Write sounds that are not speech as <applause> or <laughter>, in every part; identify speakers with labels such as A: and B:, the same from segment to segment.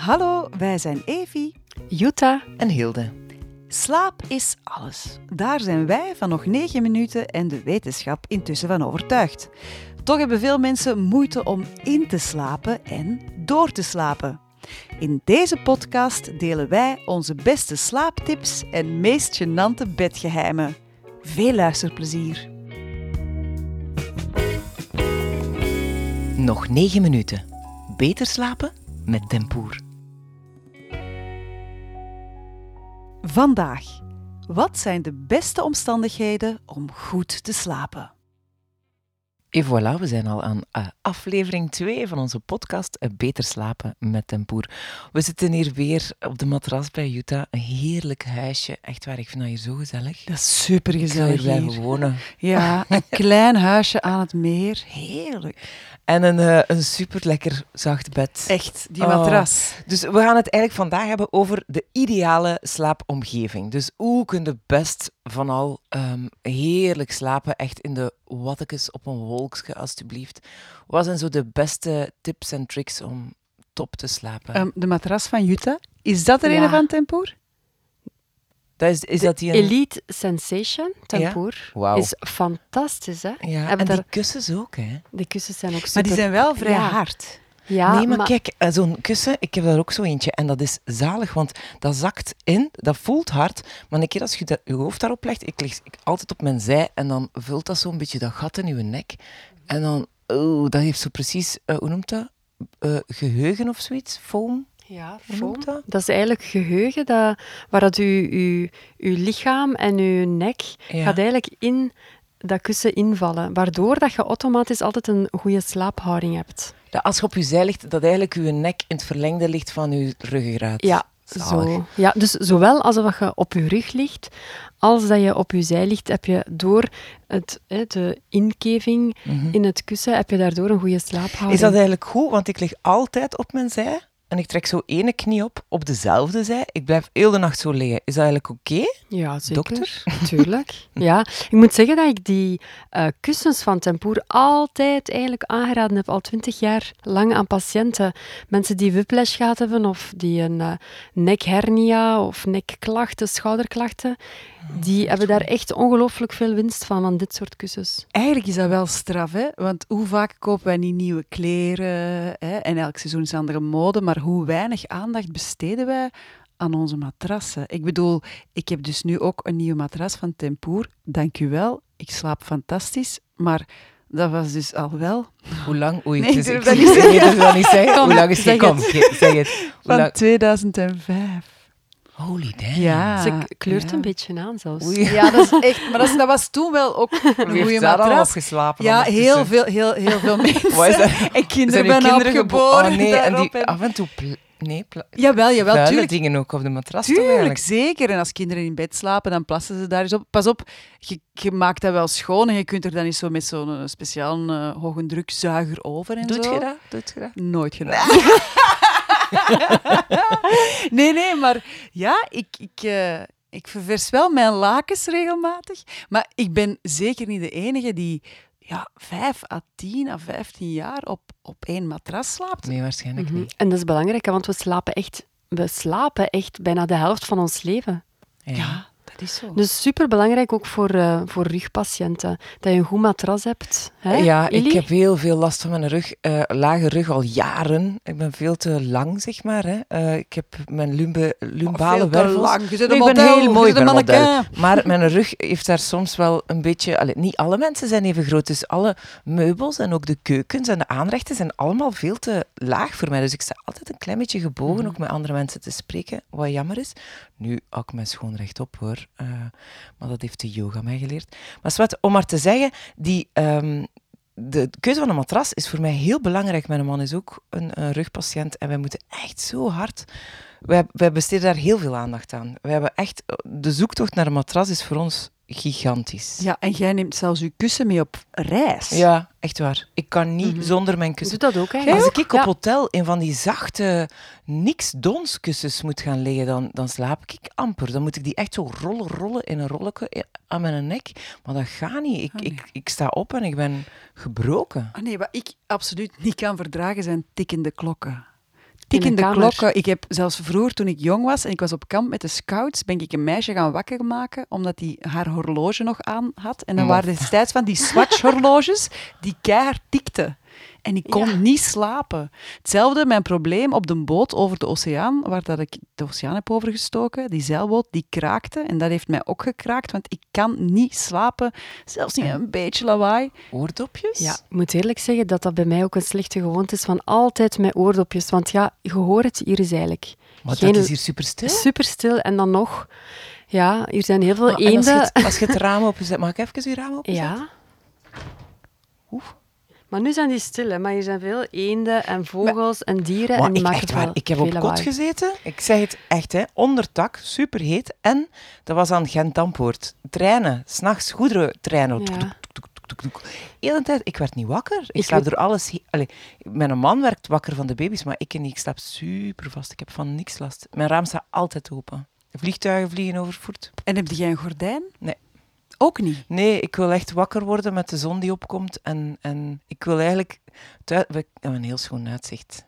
A: Hallo, wij zijn Evi.
B: Jutta,
C: en Hilde.
A: Slaap is alles. Daar zijn wij van nog 9 minuten en de wetenschap intussen van overtuigd. Toch hebben veel mensen moeite om in te slapen en door te slapen. In deze podcast delen wij onze beste slaaptips en meest gênante bedgeheimen. Veel luisterplezier.
C: Nog 9 minuten. Beter slapen met tempoer.
A: Vandaag. Wat zijn de beste omstandigheden om goed te slapen?
C: En voilà, we zijn al aan eh, aflevering 2 van onze podcast eh, Beter slapen met tempoer. We zitten hier weer op de matras bij Jutta. Een heerlijk huisje. Echt waar, ik vind dat hier zo gezellig.
A: Dat is super
C: Ik zou hier blijven wonen.
A: Ja,
B: <laughs>
A: een klein huisje aan het meer. Heerlijk.
C: En een, eh, een super lekker zacht bed.
A: Echt, die
C: Oh.
A: matras.
C: Dus we gaan het eigenlijk vandaag hebben over de ideale slaapomgeving. Dus hoe kun je best van al ehm, heerlijk slapen, echt in de wattekes op een wolkje, alstublieft. Wat zijn zo de beste tips en tricks om top te slapen?
A: Ehm, de matras van Jutta, is dat er een
B: Ja.
A: van Tempoer?
C: dat is, is dat die een...
B: Elite Sensation, Tempoor,
C: Wauw.
B: is fantastisch, hè?
C: Ja, en
B: Hebben
C: die
B: daar-
C: kussens ook, hè?
B: De kussens zijn ook super.
A: Maar die zijn wel vrij
B: vrij Ja.
A: hard.
B: Ja,
C: nee, maar,
B: maar-
C: kijk, eh, zo'n kussen, ik heb daar ook zo eentje. En dat is zalig, want dat zakt in, dat voelt hard. Maar een keer als je dat, je hoofd daarop legt, ik lig ik altijd op mijn zij en dan vult dat zo'n beetje dat gat in je nek. En dan, oh, dat heeft zo precies, eh, hoe noemt dat? Eh, geheugen of zoiets? Foam?
B: Ja,
C: Hoe
B: foam.
C: noemt dat?
B: Dat is eigenlijk geheugen dat, waar dat uw, uw, uw lichaam en uw nek
C: Ja.
B: gaat eigenlijk in dat kussen invallen, waardoor dat je automatisch altijd een goede slaaphouding hebt.
C: Dat als je op je zij ligt, dat eigenlijk je nek in het verlengde ligt van je ruggengraat.
B: Ja,
C: Zalig.
B: zo. Ja, dus zowel als dat je op je rug ligt, als dat je op je zij ligt, heb je door het, hè, de inkeving
C: Mhm.
B: in het kussen, heb je daardoor een goede slaaphouding.
C: Is dat eigenlijk goed? Want ik lig altijd op mijn zij en ik trek zo ene knie op, op dezelfde zij. Ik blijf heel de nacht zo liggen. Is dat eigenlijk oké?
B: Ja, zeker.
C: Dokter?
B: <laughs> Tuurlijk. Ja, ik moet zeggen dat ik die eh, kussens van Tempoer altijd eigenlijk aangeraden heb, al twintig jaar lang aan patiënten. Mensen die whiplash gehad hebben of die een eh, nekhernia of nekklachten, schouderklachten,
C: Ah,
B: die hebben daar echt ongelooflijk veel winst van, van dit soort kussens.
A: Eigenlijk is dat wel straf, hè? Want hoe vaak kopen wij niet nieuwe kleren? Hè? En elk seizoen is andere mode. Maar hoe weinig aandacht besteden wij aan onze matrassen? Ik bedoel, ik heb dus nu ook een nieuwe matras van Tempoer. Dank u wel. Ik slaap fantastisch. Maar dat was dus al wel
C: Hoe lang? Oei,
A: Nee,
C: het is-
A: ik
C: ik
A: durf
C: durf
A: dat niet
C: ik durf dat niet zeggen.
B: Kom,
C: Hoe lang is het?
B: zeg
C: Kom,
B: het.
C: ge- zeg
A: <laughs>
C: het. Hoe
A: van
C: lang?
A: 2005.
C: Holy damn.
A: Ja.
B: Ze k- kleurt
A: Ah, ja.
B: een beetje aan zelfs.
C: Oei.
A: Ja, dat is echt. Maar dat, is- dat was toen wel ook een
C: Wie
A: goede
C: heeft daar al
A: matras.
C: opgeslapen?
A: Ja, heel
C: ondertussen?
A: veel, heel, heel veel mensen.
C: <laughs> Wat is dat?
A: En kinderen
C: Zijn
A: ben
C: uw kinderen gebo-
A: geboren.
C: Oh nee, en
A: daarop
C: die af en toe... pla- Nee, pla-
A: Jawel, jawel,
C: vuile
A: tuurlijk.
C: dingen ook op de matras. toch
A: Tuurlijk,
C: eigenlijk?
A: zeker. En als kinderen in bed slapen, dan plassen ze daar eens op. Pas op, je, je maakt dat wel schoon en je kunt er dan eens zo met zo'n eh, speciaal eh hoge drukzuiger over en
C: Doet
A: zo.
C: je dat? Doet je dat?
A: Nooit
C: <laughs>
A: gedaan. <laughs> nee, nee, maar ja, ik, ik, eh, ik ververs wel mijn lakens regelmatig. Maar ik ben zeker niet de enige die ja, 5 à 10 à 15 jaar op, op één matras slaapt.
C: Nee, waarschijnlijk
B: Mhm.
C: niet.
B: En dat is belangrijk, hè, want we slapen echt... We slapen echt bijna de helft van ons leven.
A: Ja, dat is zo.
B: Dus superbelangrijk ook voor, eh, voor rugpatiënten. Dat je een goed matras hebt. Hè?
C: Ja, ik
B: Ili?
C: heb heel veel last van mijn rug, eh, lage rug al jaren. Ik ben veel te lang, zeg maar. Hè. Eh, ik heb mijn lumbe, lumbale
A: Oh, Veel te
C: wervels.
A: lang. Je bent
C: Nee,
A: een
C: ik ben
A: model,
C: heel
A: je
C: mooi, ik
A: bent
C: ben
A: een
C: een model.
A: mannequin.
C: Maar mijn rug heeft daar soms wel een beetje... allee, niet alle mensen zijn even groot, dus alle meubels en ook de keukens en de aanrechten zijn allemaal veel te laag voor mij. Dus ik sta altijd een klein beetje gebogen,
A: Mhm.
C: ook met andere mensen te spreken, wat jammer is. Nu hou ik mijn schoon rechtop, hoor. Eh, maar dat heeft de yoga mij geleerd. Maar zwart, om maar te zeggen, die... ehm, de keuze van een matras is voor mij heel belangrijk. Mijn man is ook een, een rugpatiënt en wij moeten echt zo hard. Wij, wij besteden daar heel veel aandacht aan. Wij hebben echt, de zoektocht naar een matras is voor ons gigantisch.
A: Ja, en jij neemt zelfs je kussen mee op reis.
C: Ja, echt waar. Ik kan niet
B: Mhm.
C: zonder mijn
B: Doe
C: kussen.
B: dat ook eigenlijk.
C: Als ik op
B: Ja.
C: hotel in van die zachte, niks dons kussens moet gaan liggen, dan, dan slaap ik amper. Dan moet ik die echt zo rollen, rollen in een rolletje i- aan mijn nek. Maar dat gaat niet. Ik,
A: Ah, nee.
C: ik, ik sta op en ik ben gebroken.
A: Oh, Ah, nee, wat ik absoluut niet kan verdragen zijn tikkende klokken.
B: In de
A: tikkende
B: kamer.
A: klokken. Ik heb zelfs vroeger, toen ik jong was en ik was op kamp met de scouts, ben ik een meisje gaan wakker maken, omdat die haar horloge nog aan had. En dan
C: Mof.
A: waren destijds van die Swatch-horloges die keihard tikten. En ik kon niet slapen. Hetzelfde mijn probleem op de boot over de oceaan, waar dat ik de oceaan heb overgestoken. Die zeilboot, die kraakte. En dat heeft mij ook gekraakt, want ik kan niet slapen. Zelfs niet een beetje lawaai.
C: Oordopjes?
B: Ah. Ja, ik moet eerlijk zeggen dat dat bij mij ook een slechte gewoonte is van altijd met oordopjes. Want ja, je hoort het hier is eigenlijk.
C: Maar
B: Geen-
C: dat is hier super stil.
B: Super stil en dan nog. Ja, hier zijn heel veel
C: Maar- en als, je
B: eenden.
C: het, als je het raam openzet, mag ik even je raam openzet?
B: Ja.
C: Oeh.
B: Maar nu zijn die stil, hè, maar hier zijn veel eenden en vogels en dieren.
C: Maar
B: en die
C: ik,
B: maken
C: echt
B: wel
C: waar, ik heb
B: veel
C: op kot
B: lawaai.
C: gezeten. Ik zeg het echt, hè, onder tak, superheet. En dat was aan Gent-Dampoort. Treinen, s'nachts goederentreinen.
B: Ja.
C: Toek, toek, toek, toek, toek, toek. Heel de tijd, ik werd niet wakker. Ik,
B: Ik
C: slaap
B: weet-
C: door alles... he- Allee, mijn man werkt wakker van de baby's, maar ik, niet. ik slaap super vast. Ik heb van niks last. Mijn raam staat altijd open. Vliegtuigen vliegen over voert.
A: En heb jij een gordijn?
C: Nee.
A: Ook niet?
C: Nee, ik wil echt wakker worden met de zon die opkomt. En, en ik wil eigenlijk... thui- we hebben een heel schoon uitzicht.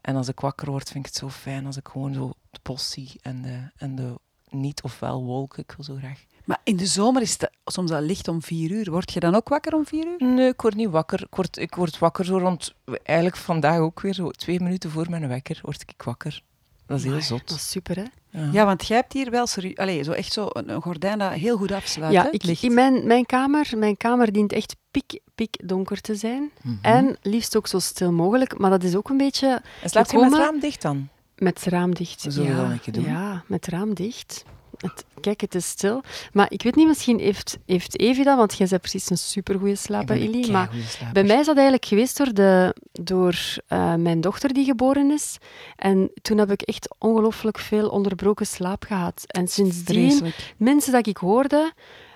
C: En als ik wakker word, vind ik het zo fijn als ik gewoon zo de bos zie en de, en de niet of wel wolken. Ik wil zo graag...
A: Maar in de zomer is het soms al licht om vier uur. Word je dan ook wakker om vier uur?
C: Nee, ik word niet wakker. Ik word, ik word wakker zo rond... Eigenlijk vandaag ook weer zo twee minuten voor mijn wekker word ik wakker. Dat is heel
B: Maar,
C: zot.
B: Dat is super, hè?
A: Ja, want jij hebt hier wel serieus, allez, zo echt zo een, een gordijn dat heel goed afsluit.
B: Ja,
A: hè,
B: ik,
A: licht.
B: in mijn, mijn, kamer, mijn kamer dient echt piek, piek donker te zijn.
C: Mhm.
B: En liefst ook zo stil mogelijk. Maar dat is ook een beetje
C: En slaapt je met het
B: komen-
C: raam dicht dan?
B: met het raam dicht.
C: We zullen
B: ja,
C: dat een keer doen.
B: Ja, met het raam dicht. Het, kijk, het is stil. Maar ik weet niet, misschien heeft, heeft Evi dat, want jij bent precies een supergoeie slaper, Elie. Maar bij mij is dat eigenlijk geweest door, de, door eh, mijn dochter die geboren is. En toen heb ik echt ongelooflijk veel onderbroken slaap gehad. En sindsdien
A: Vreselijk.
B: mensen dat ik hoorde,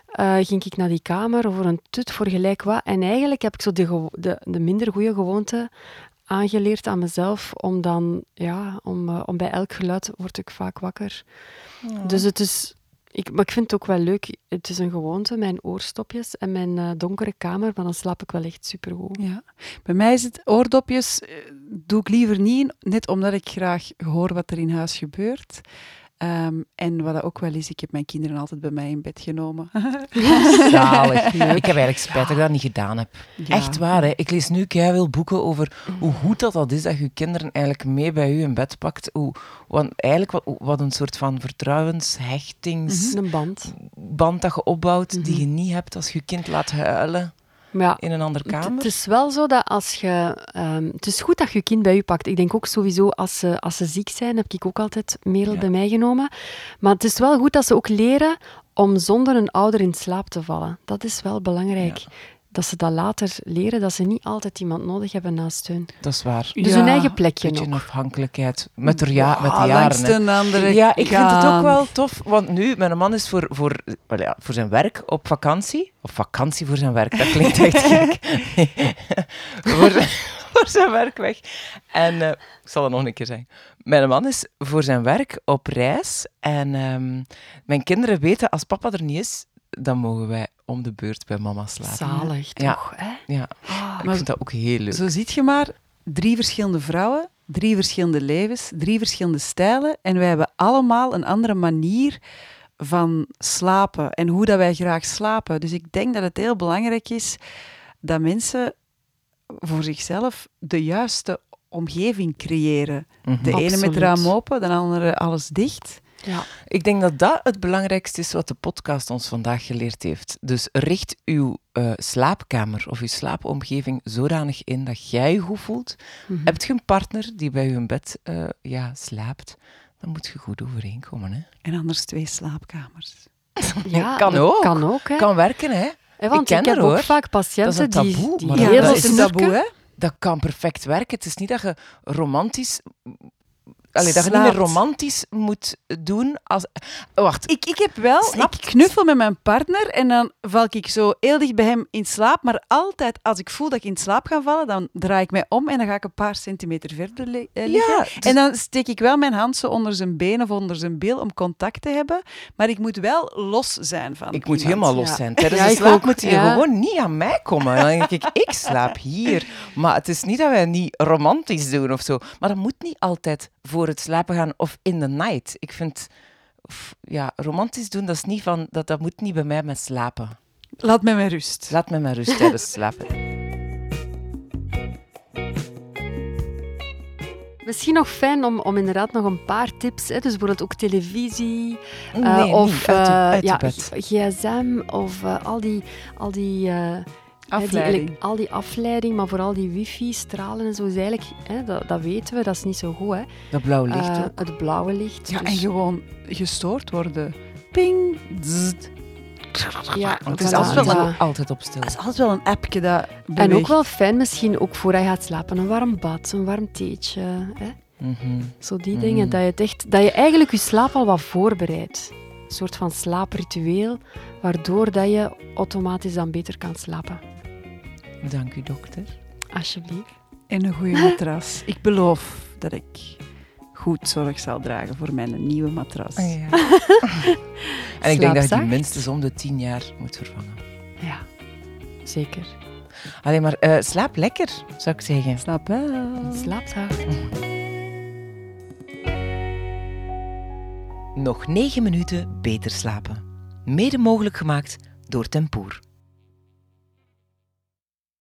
B: eh, ging ik naar die kamer voor een tut, voor gelijk wat. En eigenlijk heb ik zo de, gewo- de, de minder goede gewoonte aangeleerd aan mezelf, om dan, ja, om, eh, om bij elk geluid word ik vaak wakker. Dus het is, ik, maar ik vind het ook wel leuk, het is een gewoonte, mijn oorstopjes en mijn eh, donkere kamer, maar dan slaap ik wel echt supergoed.
A: Ja. Bij mij is het oordopjes eh, doe ik liever niet, net omdat ik graag hoor wat er in huis gebeurt. Ehm, en wat dat ook wel is, ik heb mijn kinderen altijd bij mij in bed genomen.
C: Zalig. Ik heb eigenlijk spijt dat ik dat niet gedaan heb.
A: Ja.
C: Echt waar, hè. ik lees nu keihard boeken over hoe goed dat, dat is dat je kinderen eigenlijk mee bij u in bed pakt. Hoe, want eigenlijk wat, wat een soort van
A: Mhm.
C: vertrouwenshechtingsband
B: Een band.
C: dat je opbouwt, die je niet hebt als je je kind laat huilen
B: Maar ja,
C: in een andere
B: Het-
C: kamer.
B: Het is wel zo dat als je... ehm, het is goed dat je je kind bij u pakt. Ik denk ook sowieso, als ze, als ze ziek zijn, heb ik ook altijd merel
C: Ja.
B: bij mij genomen. Maar het is wel goed dat ze ook leren om zonder een ouder in slaap te vallen. Dat is wel belangrijk. Dat ze dat later leren, dat ze niet altijd iemand nodig hebben naast hun.
C: Dat is waar.
B: Dus
A: Ja,
B: hun eigen
C: Een
B: plekje
C: beetje
B: nog.
C: een afhankelijkheid met, de ja, met de
A: Ah,
C: jaren.
A: langs
C: hè.
A: de andere
C: Ja, ik vind het ook
A: kant.
C: wel tof. Want nu, mijn man is voor, voor, wel ja, voor zijn werk op vakantie. Op vakantie voor zijn werk, dat klinkt echt gek. voor, zijn- voor zijn werk weg. En eh, ik zal het nog een keer zeggen. Mijn man is voor zijn werk op reis. En ehm, mijn kinderen weten, als papa er niet is, dan mogen wij om de beurt bij mama slapen.
B: Zalig, Ah,
C: Ja.
B: toch? Hè?
C: Ja, ik
A: maar-
C: vind dat ook heel leuk.
A: Zo ziet je maar drie verschillende vrouwen, drie verschillende levens, drie verschillende stijlen. En wij hebben allemaal een andere manier van slapen en hoe dat wij graag slapen. Dus ik denk dat het heel belangrijk is dat mensen voor zichzelf de juiste omgeving creëren.
C: Mhm.
A: De ene met
B: Absoluut.
A: raam open, de andere alles dicht.
B: Ja.
C: Ik denk dat dat het belangrijkste is wat de podcast ons vandaag geleerd heeft. Dus richt uw eh, slaapkamer of uw slaapomgeving zodanig in dat jij je goed voelt.
B: Mhm.
C: Hebt je een partner die bij je in bed eh, ja, slaapt, dan moet je goed overeenkomen. Hè?
A: En anders twee slaapkamers.
C: <laughs>
B: Ja,
C: Kan
B: dat
C: ook.
B: Kan ook, hè.
C: Kan werken, hè?
B: Hè, Want
C: ik ken
B: ik heb
C: er,
B: ook
C: hoor.
B: vaak patiënten
C: Dat is een
B: die,
C: taboe,
B: die
C: maar
A: Ja,
B: heel
C: dat
B: veel
A: dat
C: is
A: is een
B: snurken.
A: taboe, hè?
C: Dat kan perfect werken. Het is niet dat je romantisch allee, dat je niet meer
A: Slaapt.
C: romantisch moet doen als... Wacht,
A: Ik, ik heb wel,
C: Snap
A: ik knuffel met mijn partner en dan val ik zo heel dicht bij hem in slaap. Maar altijd als ik voel dat ik in slaap ga vallen, dan draai ik mij om en dan ga ik een paar centimeter verder li- eh, liggen.
C: ja, dus-
A: En dan steek ik wel mijn hand zo onder zijn been of onder zijn bil om contact te hebben. Maar ik moet wel los zijn van
C: ik moet
A: iemand.
C: helemaal los
B: ja.
C: zijn. Tijdens
B: Ja,
C: de
B: ik
C: slaap
B: ook,
C: moet je
B: ja.
C: gewoon niet aan mij komen. Dan denk ik, ik slaap hier. Maar het is niet dat wij niet romantisch doen of zo. Maar dat moet niet altijd voor het slapen gaan of in de night. Ik vind... f- Ja, romantisch doen, dat, is niet van, dat, dat moet niet bij mij met slapen.
A: Laat mij met rust.
C: Laat mij maar rust tijdens
B: <laughs>
C: slapen.
B: Misschien nog fijn om, om inderdaad nog een paar tips, hè, dus bijvoorbeeld ook televisie eh,
C: Nee,
B: of
C: niet uit, de-
B: eh,
C: uit de
B: ja,
C: bed.
B: g- gsm of eh, al die, al die, eh, hè, die
C: Afleiding.
B: elek- al die afleiding, maar vooral die wifi, stralen en zo is eigenlijk, hè, dat, dat weten we, dat is niet zo goed. Hè.
C: Dat blauwe licht
B: Eh,
C: ook.
B: het blauwe licht.
A: Ja,
B: dus-
A: en gewoon gestoord worden. Ping. zzzt.
B: ja,
C: Want het is
B: voilà,
C: altijd,
A: wel
B: voilà.
C: wel altijd op stil.
A: Dat is altijd wel een appje dat
B: En
A: beweegt.
B: ook wel fijn misschien, ook voor hij gaat slapen, een warm bad, een warm theetje. Hè?
C: Mhm.
B: Zo die dingen, dat je, het echt, dat je eigenlijk je slaap al wat voorbereidt. Een soort van slaapritueel, waardoor dat je automatisch dan beter kan slapen.
C: Dank u, dokter.
B: Alsjeblieft.
A: En een goede matras. Ik beloof dat ik goed zorg zal dragen voor mijn nieuwe matras.
C: Ah
B: Ah,
C: <laughs> en ik denk dat je die
B: Slaapzacht.
C: minstens om de tien jaar moet vervangen.
B: Ja, zeker.
C: Alleen maar eh, slaap lekker, zou ik zeggen.
A: Slaap wel.
B: Slaapzacht.
C: Nog 9 minuten beter slapen. Mede mogelijk gemaakt door Tempoer.